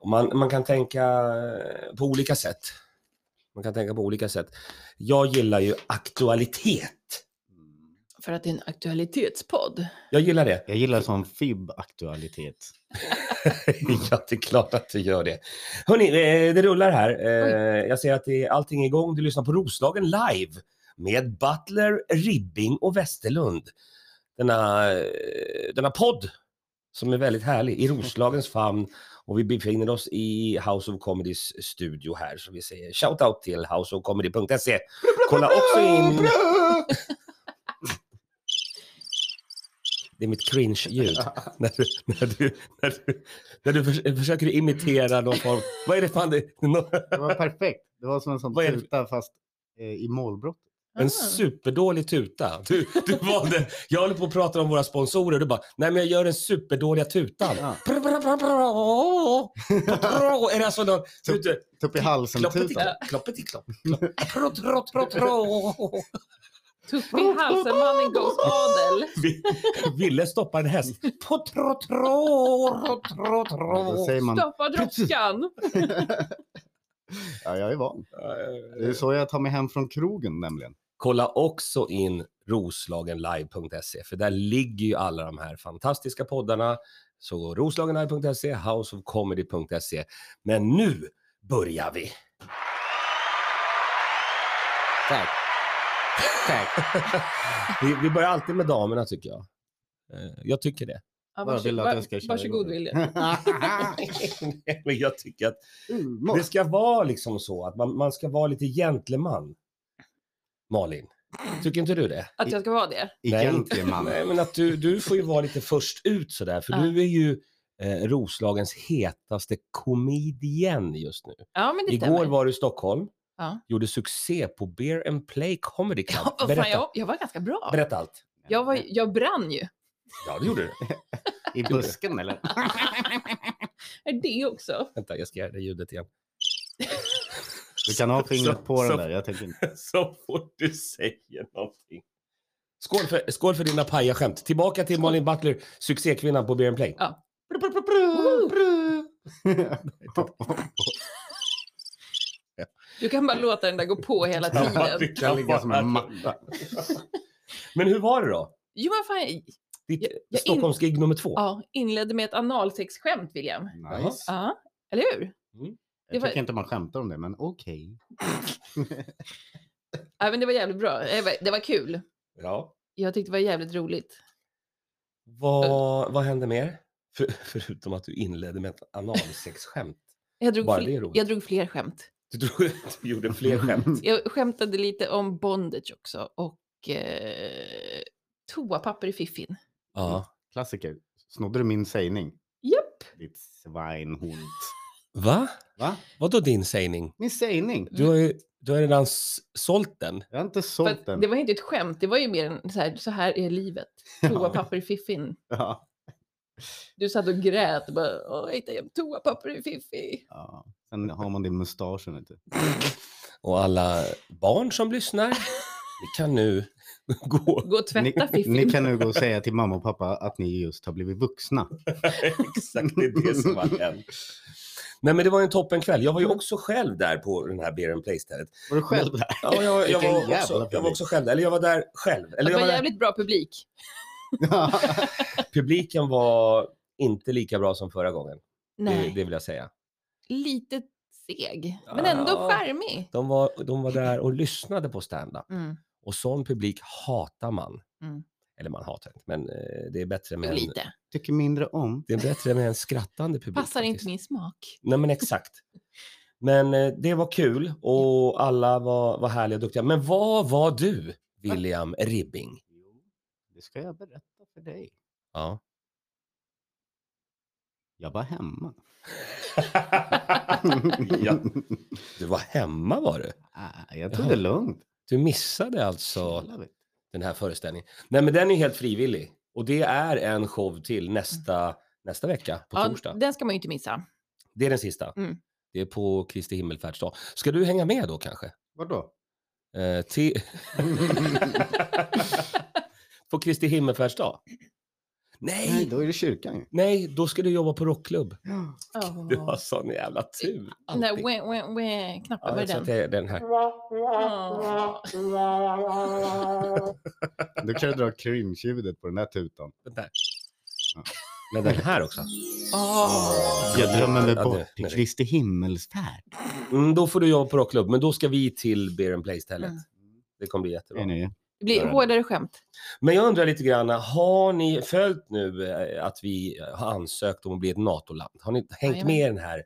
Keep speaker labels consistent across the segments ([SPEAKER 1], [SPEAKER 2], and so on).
[SPEAKER 1] Och Man, man kan tänka eh, på olika sätt. Man kan tänka på olika sätt. Jag gillar ju aktualitet.
[SPEAKER 2] För att det är en aktualitetspodd.
[SPEAKER 1] Jag gillar det.
[SPEAKER 3] Jag gillar sån FIB-aktualitet.
[SPEAKER 1] ja, det är klart att du gör det. Hörni, det rullar här. Eh, Jag ser att det är allting är igång. Du lyssnar på Roslagen live med Butler, Ribbing och Westerlund. Denna, eh, denna podd som är väldigt härlig i Roslagens famn och vi befinner oss i House of Comedys studio här. Så vi säger shout-out till houseofcomedy.se. Kolla också in... Det är mitt cringe-ljud. när, du, när, du, när, du, när du förs- försöker imitera någon form... Vad är det fan det... nå-
[SPEAKER 3] Det var perfekt. Det var som en sån
[SPEAKER 1] Vad är det?
[SPEAKER 3] tuta fast eh, i målbrott.
[SPEAKER 2] Ah.
[SPEAKER 1] En superdålig tuta. Du, du valde, jag håller på att prata om våra sponsorer. Du bara, nej men jag gör den superdåliga tutan.
[SPEAKER 3] Ja.
[SPEAKER 1] Bra, bra, bra, bra, bra, bra. Är det alltså någon... Vet du,
[SPEAKER 3] Tupp i halsen-tutan.
[SPEAKER 1] kloppetiklopp, kloppetiklopp, klopp. Trå, trå, trå, trå.
[SPEAKER 2] Tupp i halsen, mannen goes adel.
[SPEAKER 1] Vi- Ville stoppa en häst. På trå, trå, trå,
[SPEAKER 3] Då
[SPEAKER 1] trå.
[SPEAKER 3] säger man,
[SPEAKER 2] Stoppa droskan.
[SPEAKER 3] ja jag är van. Det är så jag tar mig hem från krogen nämligen.
[SPEAKER 1] Kolla också in roslagenlive.se för där ligger ju alla de här fantastiska poddarna. Så roslagenlive.se, houseofcomedy.se. Men nu börjar vi!
[SPEAKER 3] Tack. Tack.
[SPEAKER 1] Vi, vi börjar alltid med damerna tycker jag. Eh, Jag tycker det.
[SPEAKER 2] Ja,
[SPEAKER 3] Bara vill att jag ska köra
[SPEAKER 2] varsågod
[SPEAKER 3] igång.
[SPEAKER 2] William.
[SPEAKER 1] Nej, Men jag tycker att
[SPEAKER 3] Humor.
[SPEAKER 1] det ska vara liksom så att man, man ska vara lite gentleman. Malin, tycker inte du det?
[SPEAKER 2] Att jag ska vara det.
[SPEAKER 3] Egentligen man.
[SPEAKER 1] Nej, men att du, du får ju vara lite först ut sådär, för
[SPEAKER 2] Ja.
[SPEAKER 1] du är ju eh, Roslagens hetaste komedien just nu.
[SPEAKER 2] Ja, men det
[SPEAKER 1] Igår
[SPEAKER 2] stämmer.
[SPEAKER 1] var du i Stockholm,
[SPEAKER 2] Ja.
[SPEAKER 1] gjorde succé på Beer and Play Comedy Club.
[SPEAKER 2] Ja, vad fan,
[SPEAKER 1] berätta,
[SPEAKER 2] jag, jag var ganska bra.
[SPEAKER 1] berätta allt.
[SPEAKER 2] Jag, var, jag brann ju.
[SPEAKER 1] Ja, det gjorde du.
[SPEAKER 3] I busken eller?
[SPEAKER 2] Är det också?
[SPEAKER 1] Vänta, jag ska göra det ljudet igen.
[SPEAKER 3] Du kan ha
[SPEAKER 1] Så-
[SPEAKER 3] fingret på
[SPEAKER 1] så-
[SPEAKER 3] den där. Jag tänker inte.
[SPEAKER 1] Så fort du säger någonting. Skål för, skål för dina pajaskämt. Tillbaka till Malin Butler, succékvinnan på Beer and Play.
[SPEAKER 2] Ja.
[SPEAKER 3] Woho!
[SPEAKER 2] Du kan bara låta den där gå på hela
[SPEAKER 1] Ja,
[SPEAKER 2] tiden.
[SPEAKER 1] det
[SPEAKER 3] kan
[SPEAKER 1] kan
[SPEAKER 3] ligga som
[SPEAKER 1] vara.
[SPEAKER 3] en matta.
[SPEAKER 1] Men hur var det då?
[SPEAKER 2] Jo, men fan.
[SPEAKER 1] Ditt
[SPEAKER 2] Jag- jag in-
[SPEAKER 1] Stockholmsgig nummer två?
[SPEAKER 2] Ja, inledde med ett analsexskämt, William.
[SPEAKER 3] Nice.
[SPEAKER 2] Ja, eller hur? det
[SPEAKER 3] Jag
[SPEAKER 2] var-
[SPEAKER 3] tycker inte man skämtar om det, men okej.
[SPEAKER 2] Ja, men det var jävligt bra. Det var, det var kul.
[SPEAKER 1] ja.
[SPEAKER 2] Jag tyckte det var jävligt roligt.
[SPEAKER 1] Vad, vad hände mer? För, förutom att du inledde med ett analsexskämt.
[SPEAKER 2] Jag drog,
[SPEAKER 1] Bara
[SPEAKER 2] fl-
[SPEAKER 1] det är roligt.
[SPEAKER 2] jag drog fler skämt.
[SPEAKER 1] Du, drog, du gjorde fler skämt.
[SPEAKER 2] Jag skämtade lite om bondage också och eh, toapapper i fiffin.
[SPEAKER 1] Ja.
[SPEAKER 3] Klassiker. Snodde du min sägning?
[SPEAKER 2] Japp.
[SPEAKER 3] Ditt svinhund.
[SPEAKER 1] Va?
[SPEAKER 3] Va?
[SPEAKER 1] Vadå din sägning?
[SPEAKER 3] Min sägning?
[SPEAKER 2] Mm.
[SPEAKER 1] Du har ju du har redan s- sålt den.
[SPEAKER 3] Jag har inte
[SPEAKER 2] För
[SPEAKER 3] sålt
[SPEAKER 2] att
[SPEAKER 3] den.
[SPEAKER 2] det var inte ett skämt, det var ju mer en så här, så här är livet. Toapapper i fiffin.
[SPEAKER 3] Ja.
[SPEAKER 2] Du satt och grät och bara, Åh, hitta hem toapapper i fiffi.
[SPEAKER 3] Ja. Sen har man det i mustaschen. Vet du.
[SPEAKER 1] Och alla barn som lyssnar, ni kan nu gå.
[SPEAKER 2] Gå och
[SPEAKER 3] Ni,
[SPEAKER 2] tvätta fiffin.
[SPEAKER 3] ni kan nu gå och säga till mamma och pappa att ni just har blivit vuxna.
[SPEAKER 1] Exakt, det är det som har hänt. Nej men det var ju en toppenkväll. Jag var ju
[SPEAKER 2] Mm.
[SPEAKER 1] också själv där på den här Beer and Play-stället.
[SPEAKER 3] Var du själv där?
[SPEAKER 1] Ja, jag, jag,
[SPEAKER 3] Vilken
[SPEAKER 1] var också,
[SPEAKER 3] jävla
[SPEAKER 1] jag var också själv där. Eller jag var där själv. Eller
[SPEAKER 2] det
[SPEAKER 1] jag
[SPEAKER 2] var
[SPEAKER 1] var där.
[SPEAKER 2] jävligt bra publik.
[SPEAKER 3] Ja.
[SPEAKER 1] Publiken var inte lika bra som förra gången. Det,
[SPEAKER 2] Nej,
[SPEAKER 1] det vill jag säga.
[SPEAKER 2] lite seg, men ändå
[SPEAKER 1] Ja.
[SPEAKER 2] charmig.
[SPEAKER 1] De var, de var där och lyssnade på stand-up.
[SPEAKER 2] Mm.
[SPEAKER 1] Och sån publik hatar man.
[SPEAKER 2] Mm.
[SPEAKER 1] Eller man hatar inte, men eh, det är bättre med,
[SPEAKER 2] Jo,
[SPEAKER 1] en,
[SPEAKER 2] lite.
[SPEAKER 3] Tycker mindre om.
[SPEAKER 1] det är bättre med en skrattande publik.
[SPEAKER 2] Passar inte
[SPEAKER 1] faktiskt.
[SPEAKER 2] min smak.
[SPEAKER 1] Nej, men exakt. Men eh, det var kul och alla var, var härliga och duktiga. Men vad var du, William Ribbing?
[SPEAKER 3] Jo, det ska jag berätta för dig.
[SPEAKER 1] Ja.
[SPEAKER 3] Jag var hemma.
[SPEAKER 1] ja. Du var hemma var du.
[SPEAKER 3] Ah, jag tog det lugnt.
[SPEAKER 1] Du missade alltså
[SPEAKER 3] Chilla, vet du.
[SPEAKER 1] den här föreställningen. Nej, men den är helt frivillig. Och det är en show till nästa, nästa vecka, på
[SPEAKER 2] Ja,
[SPEAKER 1] torsdag.
[SPEAKER 2] den ska man ju inte missa.
[SPEAKER 1] Det är den sista.
[SPEAKER 2] Mm.
[SPEAKER 1] Det är på Kristi himmelfärdsdag. Ska du hänga med då kanske?
[SPEAKER 3] Vadå?
[SPEAKER 1] Eh, till... på Kristi himmelfärdsdag?
[SPEAKER 3] Nej,
[SPEAKER 1] Nej,
[SPEAKER 3] då är det kyrkan ju.
[SPEAKER 1] nej, då ska du jobba på rockklubb.
[SPEAKER 2] Åh.
[SPEAKER 1] Du har sån jävla tur.
[SPEAKER 2] Den där
[SPEAKER 1] alltid.
[SPEAKER 2] wah, wah, wah, knappen,
[SPEAKER 1] Ja,
[SPEAKER 2] var
[SPEAKER 1] jag
[SPEAKER 2] det
[SPEAKER 1] tror att
[SPEAKER 2] den?
[SPEAKER 1] det är den här.
[SPEAKER 2] Åh.
[SPEAKER 3] Då kan du dra cringe-ljudet på den där tutan.
[SPEAKER 1] Den där.
[SPEAKER 3] Ja.
[SPEAKER 1] Men den här också.
[SPEAKER 2] Åh.
[SPEAKER 1] Jag drömmer mig bort till
[SPEAKER 3] Kristi himmelsfärd.
[SPEAKER 1] Mm, då får du jobba på rockklubb, men då ska vi till Beer and Play stället.
[SPEAKER 2] Mm.
[SPEAKER 1] Det kommer bli
[SPEAKER 3] Är
[SPEAKER 1] jättebra.
[SPEAKER 3] ni?
[SPEAKER 2] Det blir hårdare skämt.
[SPEAKER 1] Men jag undrar lite grann, har ni följt nu eh, att vi har ansökt om att bli ett NATO-land? Har ni hängt
[SPEAKER 2] Jajamän.
[SPEAKER 1] med i den här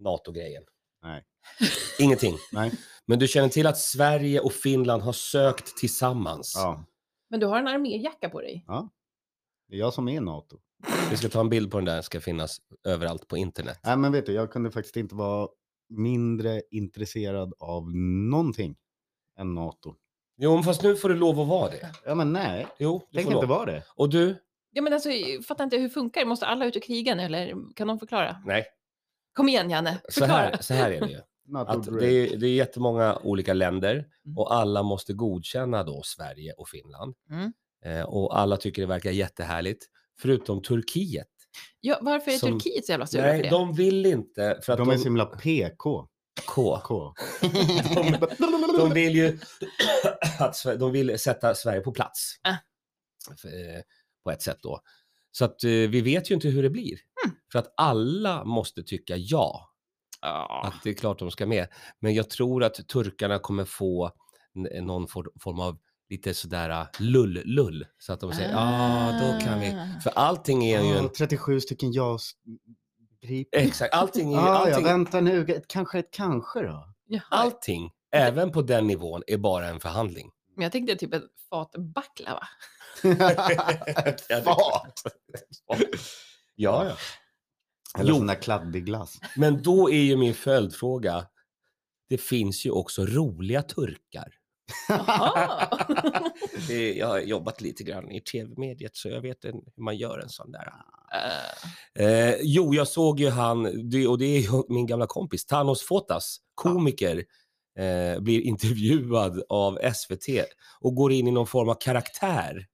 [SPEAKER 1] NATO-grejen?
[SPEAKER 3] Nej.
[SPEAKER 1] Ingenting?
[SPEAKER 3] Nej.
[SPEAKER 1] Men du känner till att Sverige och Finland har sökt tillsammans?
[SPEAKER 3] Ja,
[SPEAKER 2] Men du har en arméjacka på dig.
[SPEAKER 3] det är jag som är NATO.
[SPEAKER 1] Vi ska ta en bild på den där, den ska finnas överallt på internet.
[SPEAKER 3] Nej, men vet du, jag kunde faktiskt inte vara mindre intresserad av någonting än NATO.
[SPEAKER 1] Jo, men fast nu får du lov att vara det.
[SPEAKER 3] Ja, men nej.
[SPEAKER 1] Jo, du
[SPEAKER 3] Tänk
[SPEAKER 1] får
[SPEAKER 3] inte
[SPEAKER 1] lov.
[SPEAKER 3] vara det.
[SPEAKER 1] Och du?
[SPEAKER 2] Ja, men alltså, jag fattar inte hur det funkar. Måste alla ut och kriga nu eller kan de förklara?
[SPEAKER 1] Nej,
[SPEAKER 2] Kom igen Janne,
[SPEAKER 1] så
[SPEAKER 2] förklara.
[SPEAKER 1] här, så här är det ju.
[SPEAKER 3] NATO
[SPEAKER 1] Att
[SPEAKER 3] break.
[SPEAKER 1] det, är, det är jättemånga olika länder
[SPEAKER 2] Mm.
[SPEAKER 1] och alla måste godkänna då Sverige och Finland.
[SPEAKER 2] Mm.
[SPEAKER 1] Eh, och alla tycker det verkar jättehärligt, förutom Turkiet.
[SPEAKER 2] Ja, varför är
[SPEAKER 1] Som-
[SPEAKER 2] Turkiet så jävla sura för
[SPEAKER 1] Nej,
[SPEAKER 2] det?
[SPEAKER 1] de vill inte för att
[SPEAKER 3] De
[SPEAKER 1] de,
[SPEAKER 3] är så himla PK.
[SPEAKER 1] K.
[SPEAKER 3] K.
[SPEAKER 1] de vill ju att Sve- de vill sätta Sverige på plats.
[SPEAKER 2] Ah.
[SPEAKER 1] F- eh, På ett sätt då. Så att eh, vi vet ju inte hur det blir.
[SPEAKER 2] Hmm.
[SPEAKER 1] För att alla måste tycka ja.
[SPEAKER 2] Ja.
[SPEAKER 1] att det är klart de ska med. Men jag tror att turkarna kommer få n- eh, någon for- form av lite sådär ah, lull-lull. Så att de säger, ja ah, då kan vi.
[SPEAKER 2] Ah.
[SPEAKER 1] För allting är ju
[SPEAKER 3] Ja,
[SPEAKER 1] en...
[SPEAKER 3] 37 stycken JAS-gripen.
[SPEAKER 1] Exakt, allting är ju...
[SPEAKER 3] Ah, Ja, jag
[SPEAKER 1] Allting,
[SPEAKER 3] väntar nu. Ett- Kanske ett kanske då?
[SPEAKER 2] Jaha.
[SPEAKER 1] allting, även på den nivån, är bara en förhandling.
[SPEAKER 2] Men jag tänkte typ ett fat baklava.
[SPEAKER 1] Ett
[SPEAKER 3] fat.
[SPEAKER 1] Ja, ja.
[SPEAKER 3] Eller
[SPEAKER 1] Jo.
[SPEAKER 3] sån där kladdig glass.
[SPEAKER 1] Men då är ju min följdfråga, det finns ju också roliga turkar.
[SPEAKER 2] Jaha.
[SPEAKER 1] Det- Jag har jobbat lite grann i tv-mediet så jag vet en- hur man gör en sån där.
[SPEAKER 2] Eh,
[SPEAKER 1] Eh, jo, jag såg ju han, det, och det är ju min gamla kompis, Thanos Fotas, komiker, eh, blir intervjuad av SVT och går in i någon form av karaktär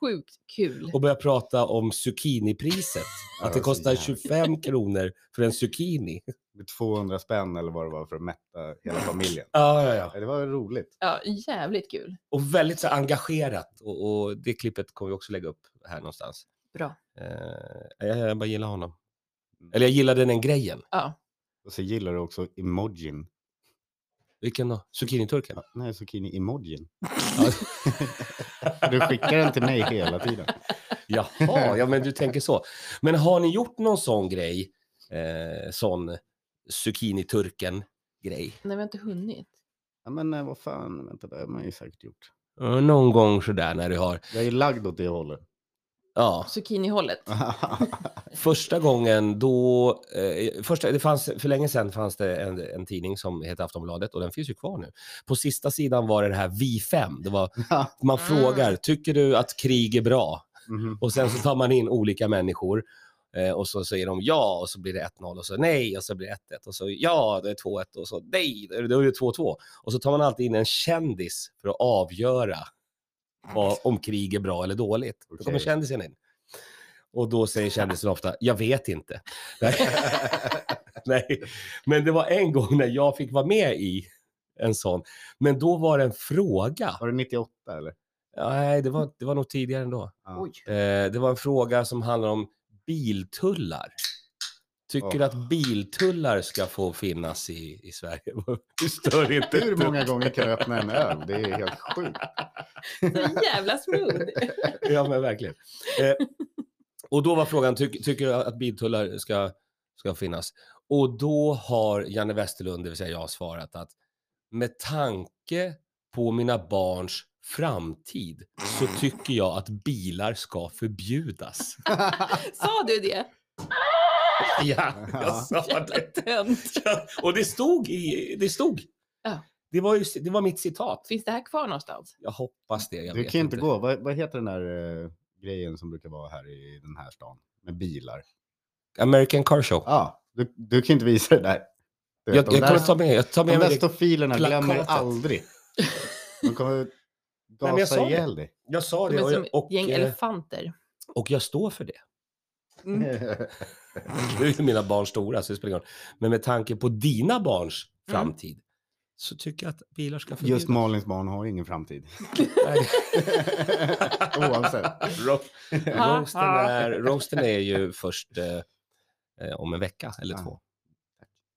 [SPEAKER 2] Sjukt kul.
[SPEAKER 1] och börjar prata om zucchinipriset.
[SPEAKER 3] Ja,
[SPEAKER 1] Att det
[SPEAKER 3] så
[SPEAKER 1] kostar
[SPEAKER 3] jävla-
[SPEAKER 1] 25 kronor för en zucchini.
[SPEAKER 3] 200 spänn eller vad det var för att mätta hela familjen.
[SPEAKER 1] Ja, ja, ja.
[SPEAKER 3] Ja, Det var roligt.
[SPEAKER 2] Ja, jävligt kul.
[SPEAKER 1] Och väldigt så här engagerat. Och, och det klippet kommer vi också lägga upp här någonstans.
[SPEAKER 2] Bra.
[SPEAKER 1] Eh, jag, jag bara gillar honom. Eller jag gillade den grejen.
[SPEAKER 2] Ja.
[SPEAKER 3] Och så gillar du också emojin.
[SPEAKER 1] Vilken då? Zucchiniturken?
[SPEAKER 3] Ja, Nej, zucchini-emojin.
[SPEAKER 1] Ja.
[SPEAKER 3] Du skickar den till mig hela tiden.
[SPEAKER 1] Jaha, ja men du tänker så. Men har ni gjort någon sån grej? Eh, sån zucchiniturken-grej?
[SPEAKER 2] Nej, vi har inte hunnit.
[SPEAKER 3] Ja, men eh, vad fan, vänta, det har man ju säkert gjort.
[SPEAKER 1] Eh, Någon gång sådär när du har...
[SPEAKER 3] Jag är ju lagd åt det hållet.
[SPEAKER 1] Ja,
[SPEAKER 2] Zucchini-hållet.
[SPEAKER 1] första gången då... Eh, första, det fanns, för länge sedan fanns det en, en tidning som hette Aftonbladet och den finns ju kvar nu. På sista sidan var det det här Vi fem. Det var, man
[SPEAKER 2] Mm.
[SPEAKER 1] frågar, tycker du att krig är bra?
[SPEAKER 3] Mhm.
[SPEAKER 1] Och sen så tar man in olika människor eh, och så säger de ja och så blir det 1-0 och så nej och så blir det 1-1 och så ja, det är 2-1 och så nej, då är det- då är det 2-2. Och så tar man alltid in en kändis för att avgöra vad, om krig är bra eller dåligt. Då kommer
[SPEAKER 3] Okej.
[SPEAKER 1] kändisen in. Och då säger kändisen ofta, jag vet inte. Nej. Nej, men det var en gång när jag fick vara med i en sån. Men då var det en fråga.
[SPEAKER 3] Var det 98 eller?
[SPEAKER 1] Nej, det var, det var nog tidigare ändå.
[SPEAKER 3] Ja.
[SPEAKER 2] Oj.
[SPEAKER 1] Eh, det var en fråga som handlar om biltullar. Tycker du att biltullar ska få finnas i, i Sverige? Du stör inte.
[SPEAKER 3] Typ Hur många gånger kan du öppna en öl? Det är helt sjukt.
[SPEAKER 2] Så jävla smooth.
[SPEAKER 1] Ja, men verkligen. Eh, och då var frågan, tyck, tycker du att biltullar ska, ska finnas? Och då har Janne Westerlund, det vill säga jag, svarat att med tanke på mina barns framtid så tycker jag att bilar ska förbjudas.
[SPEAKER 2] Sa du det?
[SPEAKER 1] Ja, jag sa
[SPEAKER 2] Jävla
[SPEAKER 1] det.
[SPEAKER 2] tönt.
[SPEAKER 1] Ja, och det stod i, det stod.
[SPEAKER 2] Ja.
[SPEAKER 1] Det var, ju, det var mitt citat.
[SPEAKER 2] Finns det här kvar någonstans?
[SPEAKER 1] Jag hoppas det. Jag
[SPEAKER 3] Du
[SPEAKER 1] vet
[SPEAKER 3] kan ju inte gå. Vad, vad heter den där eh, grejen som brukar vara här i den här stan? Med bilar.
[SPEAKER 1] American Car Show.
[SPEAKER 3] Ja, du, du kan inte visa det där. Du vet,
[SPEAKER 1] jag,
[SPEAKER 3] de
[SPEAKER 1] jag
[SPEAKER 3] där,
[SPEAKER 1] kommer ta med, jag tar
[SPEAKER 3] de
[SPEAKER 1] med
[SPEAKER 3] där
[SPEAKER 1] mig det.
[SPEAKER 3] stofilerna glömmer
[SPEAKER 1] plakatet.
[SPEAKER 3] aldrig. De kommer
[SPEAKER 1] jag sa
[SPEAKER 3] gasa
[SPEAKER 1] det.
[SPEAKER 3] ihjäl dig.
[SPEAKER 1] Jag sa
[SPEAKER 2] De
[SPEAKER 1] det
[SPEAKER 2] är
[SPEAKER 1] och,
[SPEAKER 2] som
[SPEAKER 1] jag-
[SPEAKER 2] ett
[SPEAKER 1] och
[SPEAKER 2] gäng
[SPEAKER 1] eh,
[SPEAKER 2] elefanter.
[SPEAKER 1] Och jag står för det.
[SPEAKER 2] Mm.
[SPEAKER 1] Nu är ju mina barn stora, så det spelar ingen roll. Men med tanke på dina barns
[SPEAKER 2] Mm.
[SPEAKER 1] framtid så tycker jag att bilar ska förbjudas.
[SPEAKER 3] Just Malins barn har ju ingen framtid.
[SPEAKER 1] Nej.
[SPEAKER 3] Oavsett.
[SPEAKER 1] Ro-
[SPEAKER 2] Ha,
[SPEAKER 1] roasten,
[SPEAKER 2] ha.
[SPEAKER 1] är, roasten är ju först eh, eh, om en vecka eller
[SPEAKER 3] Ja.
[SPEAKER 1] två.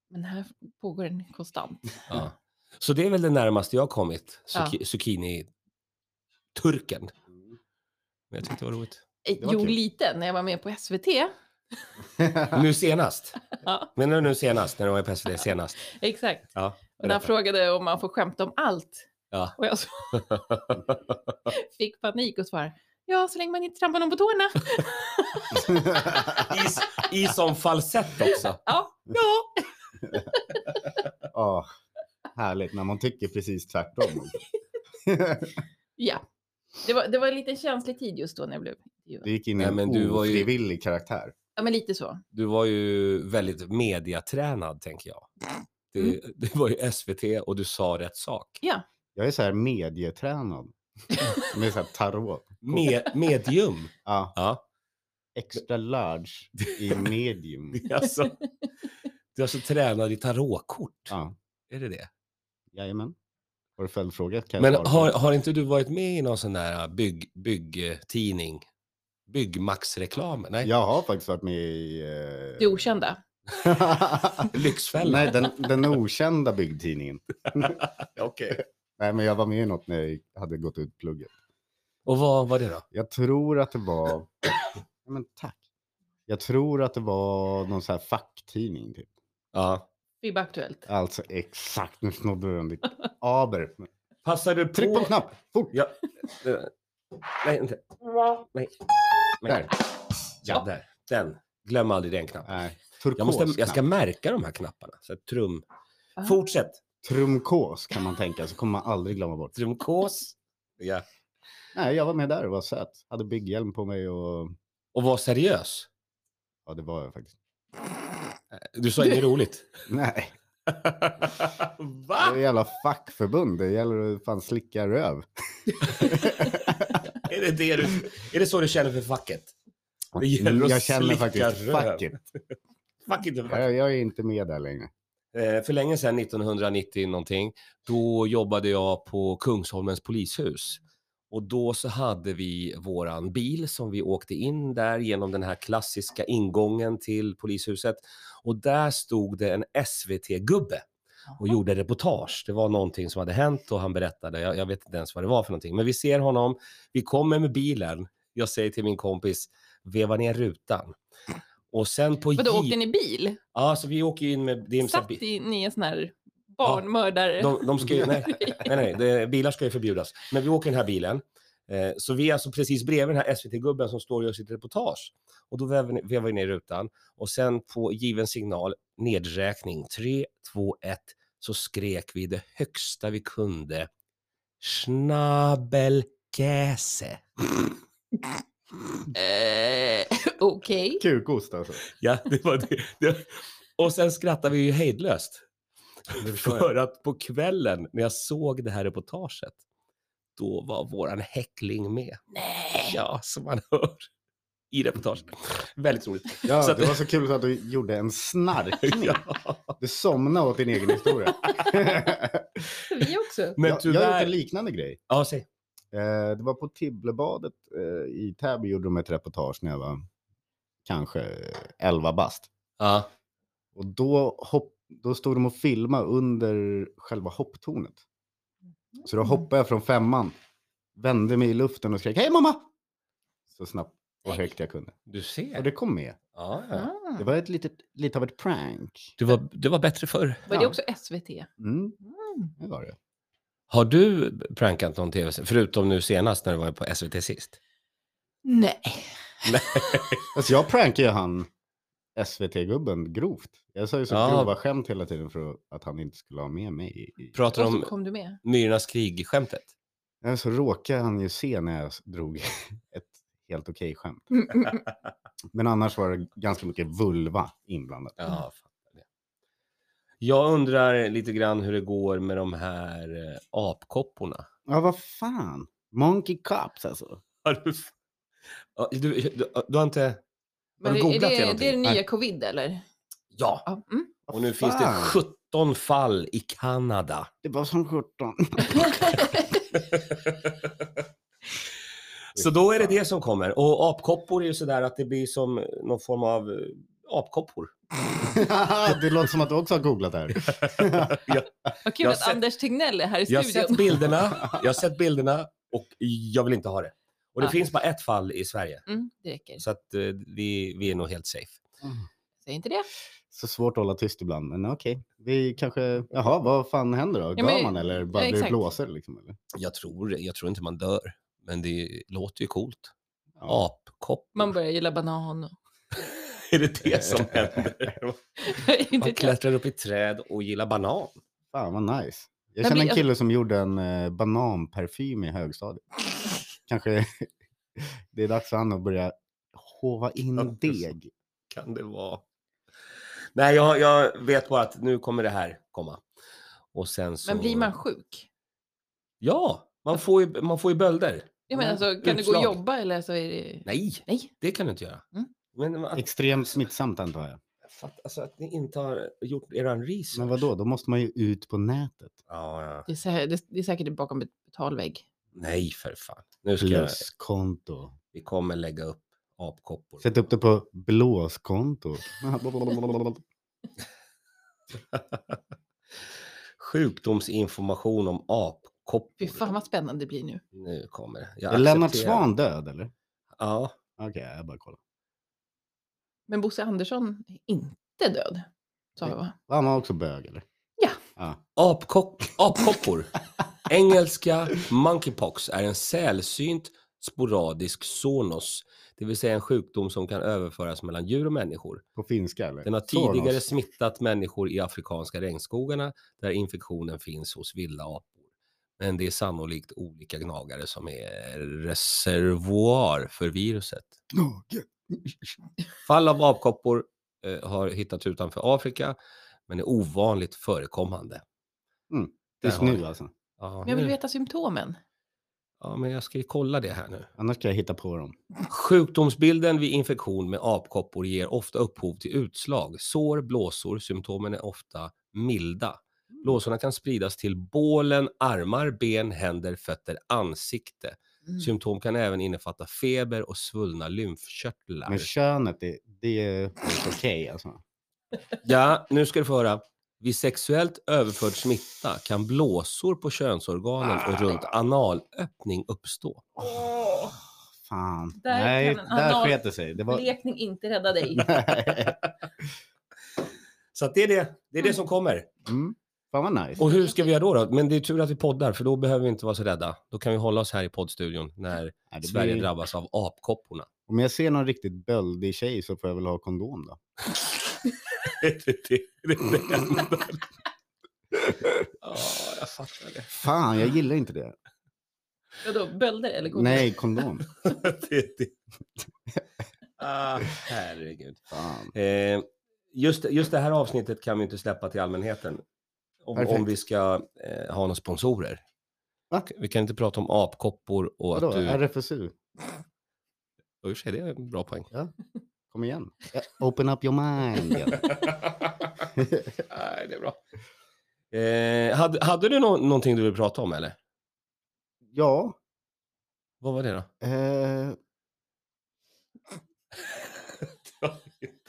[SPEAKER 2] Men här pågår den konstant.
[SPEAKER 1] Ja. Så det är väl det närmaste jag har kommit, zucchi-
[SPEAKER 2] Ja.
[SPEAKER 1] zucchini-turken. Men jag tyckte det var roligt.
[SPEAKER 2] Eh,
[SPEAKER 3] Det var
[SPEAKER 2] Jo,
[SPEAKER 3] kul.
[SPEAKER 2] lite när jag var med på SVT.
[SPEAKER 1] Nu senast.
[SPEAKER 2] Ja.
[SPEAKER 1] Men nu, nu senast, när de var på SVT senast.
[SPEAKER 2] Exakt.
[SPEAKER 1] Ja,
[SPEAKER 2] Och när han
[SPEAKER 1] berätta.
[SPEAKER 2] frågade om man får skämta om allt.
[SPEAKER 1] Ja.
[SPEAKER 2] Och jag så fick panik och svarade ja, så länge man inte trampar någon på tårna.
[SPEAKER 1] I, I som falsett också.
[SPEAKER 2] Ja, ja.
[SPEAKER 3] Ja, härligt när man tycker precis tvärtom.
[SPEAKER 2] ja. Det, var, det var en liten känslig tid just då när jag blev intervjuad.
[SPEAKER 3] Det gick in i
[SPEAKER 1] Nej,
[SPEAKER 3] en
[SPEAKER 1] men du var ju-
[SPEAKER 3] ofrivillig karaktär.
[SPEAKER 2] Ja, men lite så.
[SPEAKER 1] Du var ju väldigt mediatränad, tänker jag.
[SPEAKER 2] Mm.
[SPEAKER 1] Du, du var ju SVT och du sa rätt sak.
[SPEAKER 3] Jag är så här medietränad. Med så här tarot.
[SPEAKER 1] Me, medium.
[SPEAKER 3] Ja,
[SPEAKER 1] Ja.
[SPEAKER 3] extra large i medium.
[SPEAKER 1] Alltså, du är alltså tränad i tarotkort.
[SPEAKER 3] Ja,
[SPEAKER 1] Är det det?
[SPEAKER 3] jajamän. Har du följdfråga? Kan jag
[SPEAKER 1] Men
[SPEAKER 3] svara på
[SPEAKER 1] har,
[SPEAKER 3] den?
[SPEAKER 1] har inte du varit med i någon sån där äh, bygg, byggtidning? Byggmax-reklam? Nej,
[SPEAKER 3] Jag har faktiskt varit med i... eh,
[SPEAKER 2] Det okända.
[SPEAKER 1] Lyxfällan.
[SPEAKER 3] Nej, den, den okända byggtidningen.
[SPEAKER 1] Okej.
[SPEAKER 3] Nej, men jag var med i något när jag hade gått ut plugget.
[SPEAKER 1] Och vad var det då?
[SPEAKER 3] Jag tror att det var... Ja, men tack. Jag tror att det var någon så här facktidning. Typ.
[SPEAKER 1] Ja.
[SPEAKER 2] FIB Aktuellt.
[SPEAKER 3] Alltså exakt, nu snodde du den. ditt Aber.
[SPEAKER 1] Passar du på...
[SPEAKER 3] Tryck på en knapp, fort!
[SPEAKER 1] Ja. Eh, Nej, inte. Nej. Nej.
[SPEAKER 3] Där.
[SPEAKER 1] Ja, där. Den. Glöm aldrig den knappen.
[SPEAKER 3] Nej,
[SPEAKER 1] Jag,
[SPEAKER 3] turkos
[SPEAKER 1] måste, jag ska
[SPEAKER 3] knapp.
[SPEAKER 1] märka de här knapparna. Så att trum...
[SPEAKER 2] Ah.
[SPEAKER 1] Fortsätt.
[SPEAKER 3] Trumkås kan man tänka, så kommer man aldrig glömma bort.
[SPEAKER 1] Trumkås. Ja.
[SPEAKER 3] Nej, jag var med där och var söt. Hade bygghjälm på mig och...
[SPEAKER 1] Och var seriös.
[SPEAKER 3] Ja, det var jag faktiskt.
[SPEAKER 1] Du sa inget roligt.
[SPEAKER 3] Nej, det är
[SPEAKER 1] Va?
[SPEAKER 3] jävla fackförbund. Det gäller att fan slicka röv.
[SPEAKER 1] Är det, det du, är det så du känner för facket? Det gäller att
[SPEAKER 3] Jag känner
[SPEAKER 1] slicka
[SPEAKER 3] faktiskt
[SPEAKER 1] röv.
[SPEAKER 3] facket.
[SPEAKER 1] Facket är facket.
[SPEAKER 3] Jag, jag är inte med där längre.
[SPEAKER 1] Eh, För länge sedan, 1990 någonting, då jobbade jag på Kungsholmens polishus. Och då så hade vi våran bil som vi åkte in där genom den här klassiska ingången till polishuset. Och där stod det en SVT-gubbe och gjorde reportage. Det var någonting som hade hänt och han berättade, jag, jag vet inte ens vad det var för någonting. Men vi ser honom, vi kommer med bilen, jag säger till min kompis, veva ner rutan. Och sen på
[SPEAKER 2] Vadå,
[SPEAKER 1] jeep-
[SPEAKER 2] åkte ni bil?
[SPEAKER 1] Ja, så vi åker ju in med... Det är en sån här
[SPEAKER 2] Satt
[SPEAKER 1] bi-
[SPEAKER 2] i, ni i en sån här barnmördare?
[SPEAKER 1] de, de ska ju, nej, nej, nej det, bilar ska ju förbjudas. Men vi åker i den här bilen. Eh, så vi är alltså precis bredvid den här SVT-gubben som står och gör sitt reportage. Och då vevar ni- vevar vi ner rutan och sen på given signal, nedräkning, 3, 2, 1, så skrek vi det högsta vi kunde. Schnabelkäse.
[SPEAKER 2] Eh, Okej.
[SPEAKER 3] Kukost alltså.
[SPEAKER 1] Ja, det var det. det. Och sen skrattade vi ju hejdlöst.
[SPEAKER 3] Det förstår jag.
[SPEAKER 1] För att på kvällen när jag såg det här reportaget, då var våran häckling med.
[SPEAKER 2] Nej.
[SPEAKER 1] Ja, som man hör i reportaget. Väldigt roligt.
[SPEAKER 3] Ja,
[SPEAKER 1] Så att-
[SPEAKER 3] det var så kul så att du gjorde en snarkning.
[SPEAKER 1] Ja.
[SPEAKER 3] Du somnade åt din egen historia.
[SPEAKER 2] Vi också.
[SPEAKER 1] Men
[SPEAKER 3] jag, jag har
[SPEAKER 1] tyvärr...
[SPEAKER 3] gjort en liknande grej.
[SPEAKER 1] ja, säg.
[SPEAKER 3] Eh, det var på Tibblebadet eh, i Täby gjorde de ett reportage när jag var kanske eh, 11 bast.
[SPEAKER 1] Ja.
[SPEAKER 3] Och då, hopp, då stod de och filmade under själva hopptornet. Så då hoppade jag från femman, vände mig i luften och skrek hej mamma! Så snabbt och högt jag kunde.
[SPEAKER 1] Du
[SPEAKER 3] Och
[SPEAKER 1] ser.
[SPEAKER 3] det kom med.
[SPEAKER 1] Ja, ja.
[SPEAKER 2] Ah.
[SPEAKER 3] Det var ett litet, lite av ett prank.
[SPEAKER 1] Det, var, det var bättre förr.
[SPEAKER 2] Var det också SVT?
[SPEAKER 3] Mm,
[SPEAKER 2] Mm.
[SPEAKER 3] det var det.
[SPEAKER 1] Har du prankat någon tv Förutom nu senast när du var på SVT sist.
[SPEAKER 2] Nej.
[SPEAKER 3] Alltså jag prankade ju han SVT-gubben grovt. Jag sa ju så
[SPEAKER 1] Ja.
[SPEAKER 3] grova skämt hela tiden för att han inte skulle ha med mig. i- i-
[SPEAKER 1] Pratar
[SPEAKER 2] Och så
[SPEAKER 1] om
[SPEAKER 2] kom du med.
[SPEAKER 1] Myrornas krig-skämtet.
[SPEAKER 3] Nej, Så råkade han ju se när jag drog ett helt okej skämt.
[SPEAKER 2] Mm, mm, mm.
[SPEAKER 3] Men annars var det ganska mycket vulva inblandat.
[SPEAKER 1] Ja, fattar det. Jag undrar lite grann hur det går med de här eh, apkopporna.
[SPEAKER 3] Ja, vad fan. Monkey Cops alltså.
[SPEAKER 1] Har du, Ja, Du, du, du har inte...
[SPEAKER 2] Men
[SPEAKER 1] du
[SPEAKER 2] är-
[SPEAKER 1] googlat det
[SPEAKER 2] är det, det är
[SPEAKER 1] någonting?
[SPEAKER 2] den
[SPEAKER 3] Nej.
[SPEAKER 2] nya covid eller?
[SPEAKER 1] Ja.
[SPEAKER 2] Ja. Mm.
[SPEAKER 1] Och nu finns det
[SPEAKER 3] Fan,
[SPEAKER 1] 17 fall i Kanada.
[SPEAKER 3] Det var som 17.
[SPEAKER 1] Så då är det det som kommer. Och apkoppor är ju sådär att det blir som någon form av eh, apkoppor.
[SPEAKER 3] det låter som att du också har googlat det här.
[SPEAKER 2] Vad kul
[SPEAKER 1] Jag har
[SPEAKER 2] att
[SPEAKER 1] sett-
[SPEAKER 2] Anders Tegnell är här i
[SPEAKER 1] Jag har
[SPEAKER 2] studion.
[SPEAKER 1] sett bilderna, jag har sett bilderna och jag vill inte ha det. Och det
[SPEAKER 2] Nej.
[SPEAKER 1] finns bara ett fall i Sverige.
[SPEAKER 2] Mm, det räcker.
[SPEAKER 1] Så att eh, vi, vi är nog helt safe.
[SPEAKER 2] Säg inte det.
[SPEAKER 3] Så svårt att hålla tyst ibland, men okej. Vi kanske, jaha, vad fan händer då? Dör
[SPEAKER 2] Ja, men-
[SPEAKER 3] man eller bara
[SPEAKER 2] ja,
[SPEAKER 3] blir det
[SPEAKER 2] exakt.
[SPEAKER 3] blåsor liksom? Eller?
[SPEAKER 1] Jag tror, jag tror inte man dör, men det låter ju coolt.
[SPEAKER 3] Ja.
[SPEAKER 1] Apkoppor,
[SPEAKER 2] Man börjar gilla banan och...
[SPEAKER 1] är det det som händer?
[SPEAKER 2] inte
[SPEAKER 1] Man
[SPEAKER 2] ett jag.
[SPEAKER 1] klättrar upp i träd och gillar banan.
[SPEAKER 3] Fan vad nice.
[SPEAKER 2] Nej,
[SPEAKER 3] Jag känner
[SPEAKER 2] men
[SPEAKER 3] en kille som gjorde en eh, bananparfym i högstadiet. Kanske det är dags för han att börja hova
[SPEAKER 1] Ja,
[SPEAKER 3] in
[SPEAKER 1] det är så.
[SPEAKER 3] deg.
[SPEAKER 1] kan det vara? Nej, jag, jag vet bara att nu kommer det här komma. Och sen så...
[SPEAKER 2] Men blir man sjuk?
[SPEAKER 1] Ja, man får ju, man får ju bölder.
[SPEAKER 2] Jag menar,
[SPEAKER 1] Mm.
[SPEAKER 2] alltså, kan du gå
[SPEAKER 1] Utslag.
[SPEAKER 2] och jobba eller så är det...
[SPEAKER 1] Nej,
[SPEAKER 2] Nej.
[SPEAKER 1] det kan du inte göra.
[SPEAKER 2] Mm.
[SPEAKER 1] Men att,
[SPEAKER 3] Extremt smittsamt antar jag.
[SPEAKER 1] fatt, alltså, att ni inte har gjort eran research.
[SPEAKER 3] Men vadå, då måste man ju ut på nätet.
[SPEAKER 1] Ja, ja.
[SPEAKER 2] Det är, sä- det, det är säkert bakom ett betalvägg.
[SPEAKER 1] Nej, för fan. Nu ska jag,
[SPEAKER 3] Pluskonto.
[SPEAKER 1] vi kommer lägga upp apkoppor.
[SPEAKER 3] Sätt upp det på blåskonto.
[SPEAKER 1] Sjukdomsinformation om apkoppor.
[SPEAKER 2] Fy fan vad spännande det blir nu.
[SPEAKER 1] Nu kommer det. Jag
[SPEAKER 3] Är Lennart
[SPEAKER 1] accepterar.
[SPEAKER 3] Svan död eller?
[SPEAKER 1] Ja.
[SPEAKER 3] Okej, jag bara kollar.
[SPEAKER 2] Men Bosse Andersson är inte död. Sa vi va?
[SPEAKER 3] Han var också bög eller?
[SPEAKER 2] Ja.
[SPEAKER 3] ja.
[SPEAKER 1] Apkock, apkoppor. Engelska monkeypox är en sällsynt sporadisk zoonos, det vill säga en sjukdom som kan överföras mellan djur och människor.
[SPEAKER 3] På finska eller?
[SPEAKER 1] Den har
[SPEAKER 3] Soros.
[SPEAKER 1] tidigare smittat människor i afrikanska regnskogarna där infektionen finns hos vilda apor. Men det är sannolikt olika gnagare som är reservoar för viruset.
[SPEAKER 3] Gnage.
[SPEAKER 1] Fall av apkoppor eh, har hittats utanför Afrika, men är ovanligt förekommande.
[SPEAKER 3] Mm,
[SPEAKER 1] Där
[SPEAKER 3] Just
[SPEAKER 1] har
[SPEAKER 3] nu
[SPEAKER 1] vi.
[SPEAKER 3] alltså.
[SPEAKER 1] Ja,
[SPEAKER 2] Men jag vill
[SPEAKER 1] nu-
[SPEAKER 2] veta symptomen.
[SPEAKER 1] Ja, men jag ska ju kolla det här nu.
[SPEAKER 3] Annars ska jag hitta på dem.
[SPEAKER 1] Sjukdomsbilden vid infektion med apkoppor ger ofta upphov till utslag, sår, blåsor. Symptomen är ofta milda.
[SPEAKER 2] Mm.
[SPEAKER 1] Blåsorna kan spridas till bålen, armar, ben, händer, fötter, ansikte.
[SPEAKER 2] Mm.
[SPEAKER 1] Symptom kan även innefatta feber och svullna lymfkörtlar.
[SPEAKER 3] Men könet, det, det är helt okej alltså.
[SPEAKER 1] Ja, nu ska du få höra. Vid sexuellt överförd smitta kan blåsor på könsorganen och runt analöppning uppstå.
[SPEAKER 2] Åh,
[SPEAKER 3] Fan.
[SPEAKER 2] Där
[SPEAKER 3] Nej,
[SPEAKER 2] kan en
[SPEAKER 3] där
[SPEAKER 2] anal-
[SPEAKER 3] sket det sig. Det var...
[SPEAKER 2] Blekning inte rädda dig.
[SPEAKER 1] Så att det är det, det är det som kommer.
[SPEAKER 3] mm. Fan vad nice.
[SPEAKER 1] Och hur ska vi göra då, då? Men det är tur att vi poddar, för då behöver vi inte vara så rädda. Då kan vi hålla oss här i poddstudion när
[SPEAKER 3] Ja, det
[SPEAKER 1] Sverige
[SPEAKER 3] blir-
[SPEAKER 1] drabbas av apkopporna.
[SPEAKER 3] Om jag ser någon riktigt böldig tjej så får jag väl ha kondom då.
[SPEAKER 1] Ja, jag fattar det.
[SPEAKER 3] Fan, jag gillar inte det.
[SPEAKER 2] Vadå, bölder eller godis?
[SPEAKER 3] Nej, kondom.
[SPEAKER 1] det, det. Ah, herregud.
[SPEAKER 3] Fan.
[SPEAKER 1] Eh, just, just det här avsnittet kan vi inte släppa till allmänheten. Om, om
[SPEAKER 3] Perfekt.
[SPEAKER 1] vi ska eh, ha några sponsorer.
[SPEAKER 3] Va?
[SPEAKER 1] Vi kan inte prata om apkoppor och
[SPEAKER 3] Vadå,
[SPEAKER 1] att du...
[SPEAKER 3] RFSU?
[SPEAKER 1] Oj, tjej, det är en bra poäng.
[SPEAKER 3] Kom igen. Ja, Open up your mind.
[SPEAKER 1] Nej, det är bra. Eh, hade, hade du nå- någonting du ville prata om eller?
[SPEAKER 3] ja.
[SPEAKER 1] Vad var det då?
[SPEAKER 3] Eh,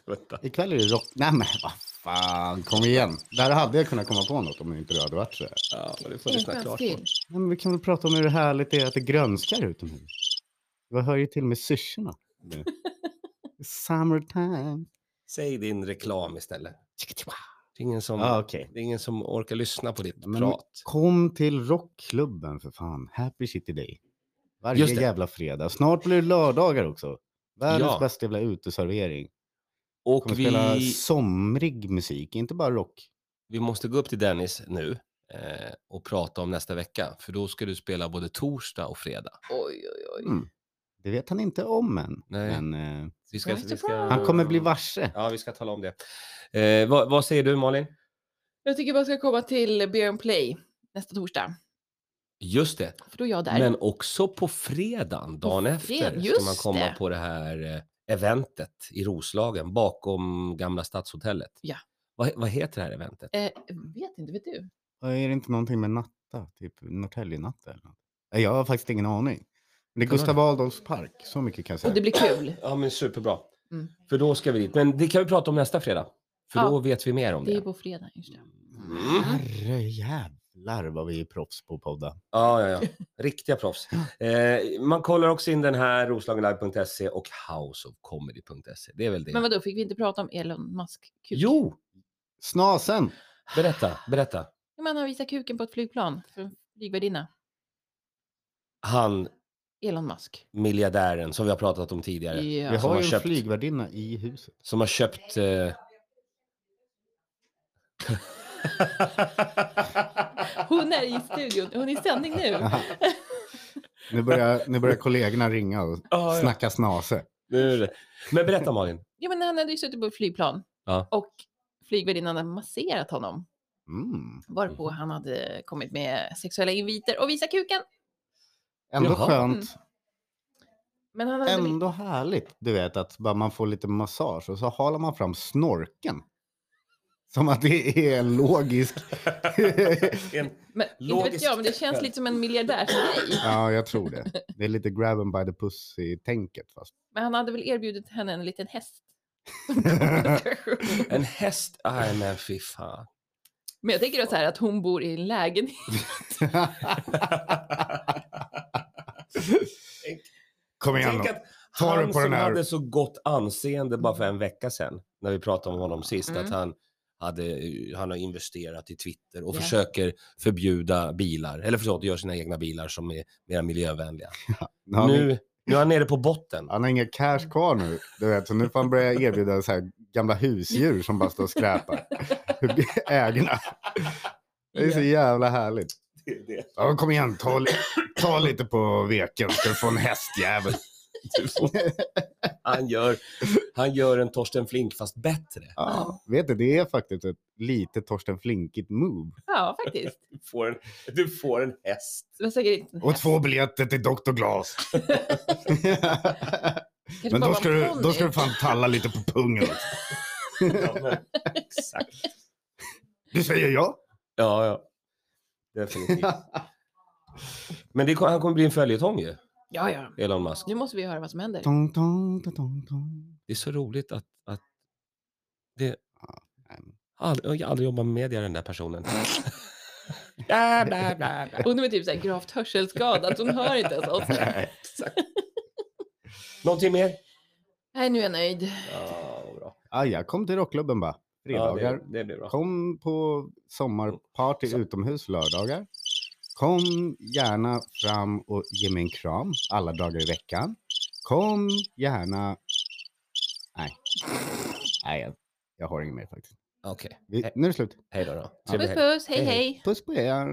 [SPEAKER 1] Vänta.
[SPEAKER 3] ikväll är det rock... Nej men vad fan, kom igen. Där hade jag kunnat komma på något om inte du hade varit så här.
[SPEAKER 1] Ja, men det får
[SPEAKER 2] Det
[SPEAKER 1] du
[SPEAKER 2] är en skön
[SPEAKER 1] lyssna klart på.
[SPEAKER 2] stil.
[SPEAKER 3] Nej, men vi kan väl prata om hur härligt det är att det grönskar utomhus. Jag hör ju till och med syrsorna. nu. Summertime.
[SPEAKER 1] Säg din reklam istället. Det är ingen som,
[SPEAKER 3] Ja, Ah, okej.
[SPEAKER 1] det är ingen som orkar lyssna på ditt
[SPEAKER 3] Men-
[SPEAKER 1] prat.
[SPEAKER 3] Kom till rockklubben för fan. Happy City Day. Varje
[SPEAKER 1] Just det.
[SPEAKER 3] jävla fredag. Snart blir det lördagar också. Världens
[SPEAKER 1] Ja.
[SPEAKER 3] bästa jävla uteservering. Kommer
[SPEAKER 1] Och
[SPEAKER 3] spela
[SPEAKER 1] vi,
[SPEAKER 3] somrig musik, inte bara rock.
[SPEAKER 1] vi måste gå upp till Dennis nu eh, och prata om nästa vecka. För då ska du spela både torsdag och fredag.
[SPEAKER 2] Oj, oj, oj.
[SPEAKER 3] Mm. Det vet han inte om än.
[SPEAKER 1] Nej,
[SPEAKER 3] Men, eh,
[SPEAKER 1] vi ska, vi ska,
[SPEAKER 2] Han
[SPEAKER 3] han kommer bli varse.
[SPEAKER 1] Ja, vi ska tala om det. Eh, vad, vad säger du Malin?
[SPEAKER 2] Jag tycker bara ska komma till Beer and Play nästa torsdag.
[SPEAKER 1] Just det.
[SPEAKER 2] För då är jag där.
[SPEAKER 1] Men också på fredagen, dagen
[SPEAKER 2] På
[SPEAKER 1] efter,
[SPEAKER 2] fred-
[SPEAKER 1] ska man
[SPEAKER 2] just
[SPEAKER 1] komma
[SPEAKER 2] det.
[SPEAKER 1] på det här eh, eventet i Roslagen bakom gamla stadshotellet.
[SPEAKER 2] Ja.
[SPEAKER 1] Vad, vad heter det här eventet?
[SPEAKER 2] Eh, vet inte, vet du?
[SPEAKER 3] Och Är det inte någonting med natta? Typ Norrtäljenatta eller något? Nej, Jag har faktiskt ingen aning. Men det är
[SPEAKER 1] Kan
[SPEAKER 3] Gustav Adolfs park, så mycket kan jag säga.
[SPEAKER 2] Och det blir kul.
[SPEAKER 1] Ja, men superbra.
[SPEAKER 2] Mm.
[SPEAKER 1] För då ska vi dit. Men det kan vi prata om nästa fredag. För
[SPEAKER 2] Ja.
[SPEAKER 1] då vet vi mer om det.
[SPEAKER 2] Det är på fredag, just det.
[SPEAKER 1] Mm.
[SPEAKER 3] Herrejävlar vad vi är proffs på att podda.
[SPEAKER 1] Ja, ja, ja. Riktiga proffs. Eh, man kollar också in den här roslagenlive.se och houseofcomedy.se. Det är väl det.
[SPEAKER 2] Men vadå, fick vi inte prata om Elon Musk kuk?
[SPEAKER 1] Jo,
[SPEAKER 3] Snasen!
[SPEAKER 1] berätta, berätta.
[SPEAKER 2] Ja, men han visar kuken på ett flygplan för en flygvärdinna.
[SPEAKER 1] Han,
[SPEAKER 2] Elon Musk.
[SPEAKER 1] miljardären som vi har pratat om tidigare.
[SPEAKER 3] Vi
[SPEAKER 2] Ja.
[SPEAKER 1] som
[SPEAKER 3] har
[SPEAKER 1] har
[SPEAKER 3] ju en
[SPEAKER 1] köpt-
[SPEAKER 3] flygvärdinna i huset.
[SPEAKER 1] Som har köpt... Eh...
[SPEAKER 2] Hon är i studion, hon är i sändning nu.
[SPEAKER 3] Nu börjar, nu börjar kollegorna ringa och
[SPEAKER 1] Ja, ja.
[SPEAKER 3] snacka snase.
[SPEAKER 1] Nu är det- Men berätta Malin.
[SPEAKER 2] Ja, men han hade ju suttit på ett flygplan
[SPEAKER 1] Ja.
[SPEAKER 2] och flygvärdinnan hade masserat honom.
[SPEAKER 3] Mm.
[SPEAKER 2] Varpå han hade kommit med sexuella inviter och visat kuken.
[SPEAKER 3] Ändå
[SPEAKER 1] Jaha. Mm.
[SPEAKER 3] skönt,
[SPEAKER 2] Men han hade...
[SPEAKER 3] ändå härligt. Du vet att bara man får lite massage och så halar man fram snorken. Som att det är en logisk...
[SPEAKER 2] Men, inte vet
[SPEAKER 1] Logiskt
[SPEAKER 2] jag, men det känns
[SPEAKER 1] skäl.
[SPEAKER 2] lite som en miljardärsgrej.
[SPEAKER 3] ja, jag tror det. Det är lite grab and by the pussy-tänket. Fast.
[SPEAKER 2] Men han hade väl erbjudit henne en liten häst.
[SPEAKER 1] en häst? Nej men fy fan.
[SPEAKER 2] Men jag tänker då så här att hon bor i en lägenhet.
[SPEAKER 3] Kom igen
[SPEAKER 1] Tänk
[SPEAKER 3] då.
[SPEAKER 1] att
[SPEAKER 3] Ta
[SPEAKER 1] han
[SPEAKER 3] det på
[SPEAKER 1] som
[SPEAKER 3] den här.
[SPEAKER 1] hade så gott anseende bara för en vecka sedan, när vi pratade om honom sist,
[SPEAKER 2] Mm.
[SPEAKER 1] att han, hade, eh, han har investerat i Twitter och
[SPEAKER 2] Ja.
[SPEAKER 1] försöker förbjuda bilar, eller förlåt, gör sina egna bilar som är mer miljövänliga.
[SPEAKER 3] Nu har vi-
[SPEAKER 1] Nu, nu är han nere på botten.
[SPEAKER 3] Han har inga cash kvar nu, du vet, så nu får han börja erbjuda så här gamla husdjur som bara står och skräpar. Ägarna. Det är så jävla härligt. Ja, kom igen, ta, li- ta lite på veken, ska du få en hästjävel.
[SPEAKER 1] Han gör, han gör en Torsten Flink fast bättre.
[SPEAKER 3] Ja, vet du, det är faktiskt ett lite Torsten Flinkigt move.
[SPEAKER 2] Ja, faktiskt.
[SPEAKER 1] Du får en, du får en häst.
[SPEAKER 2] Det var säkert inte en
[SPEAKER 3] Och
[SPEAKER 2] häst.
[SPEAKER 3] två biljetter till Dr. Glas.
[SPEAKER 2] Kanske
[SPEAKER 3] Men
[SPEAKER 2] bara
[SPEAKER 3] då
[SPEAKER 2] var
[SPEAKER 3] ska,
[SPEAKER 2] en
[SPEAKER 3] du, då
[SPEAKER 2] ponny.
[SPEAKER 3] ska du fan talla lite på pungen. också.
[SPEAKER 1] Ja, men, exakt.
[SPEAKER 3] Du säger ja?
[SPEAKER 1] Ja, ja. Definitivt. Men det, kom- han kommer bli en följetong ju,
[SPEAKER 2] Ja, ja.
[SPEAKER 1] Elon Musk.
[SPEAKER 2] Nu måste vi höra vad som händer.
[SPEAKER 3] Tong, tong, tong, tong, tong.
[SPEAKER 1] Det är så roligt att, att det...
[SPEAKER 3] nej, men-
[SPEAKER 1] Aldrig, jag aldrig jobbar med media, den där personen. bla, bla, bla, bla.
[SPEAKER 2] Hon är typ så här gravt hörselskadad, hon hör inte ens oss.
[SPEAKER 1] Någonting mer?
[SPEAKER 2] Nej, nu är jag nöjd.
[SPEAKER 1] Ja, vad bra.
[SPEAKER 3] Ah, jag kom till rockklubben bara.
[SPEAKER 1] Ja,
[SPEAKER 3] Fredagar.
[SPEAKER 1] det, det blir bra.
[SPEAKER 3] Kom på sommarparty
[SPEAKER 1] Så.
[SPEAKER 3] utomhus lördagar. Kom gärna fram och ge mig en kram alla dagar i veckan. Kom gärna... Nej. Nej, jag, jag har inget mer faktiskt.
[SPEAKER 1] Okej,
[SPEAKER 3] Vi, nu är det slut.
[SPEAKER 1] hej då. då. Trevlig
[SPEAKER 2] Puss,
[SPEAKER 1] helg.
[SPEAKER 2] puss, hej,
[SPEAKER 1] Hej, hej.
[SPEAKER 2] hej.
[SPEAKER 3] Puss på er.